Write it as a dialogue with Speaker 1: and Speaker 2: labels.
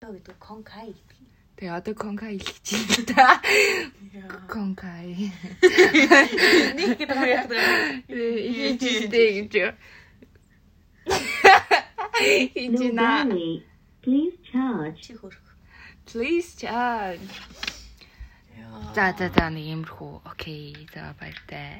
Speaker 1: одоо конкай гэдэг юм.
Speaker 2: Тэгээ одоо конкай илгэж байна та. Конкай.
Speaker 1: Нэг гэдэг юм яах вэ?
Speaker 2: Илгэж дээ гэж юу. Хинжина.
Speaker 3: Nogani, please charge.
Speaker 1: Чи хөрөх.
Speaker 2: Please charge. За за за нэг юмрхүү. Окей. За баяртай.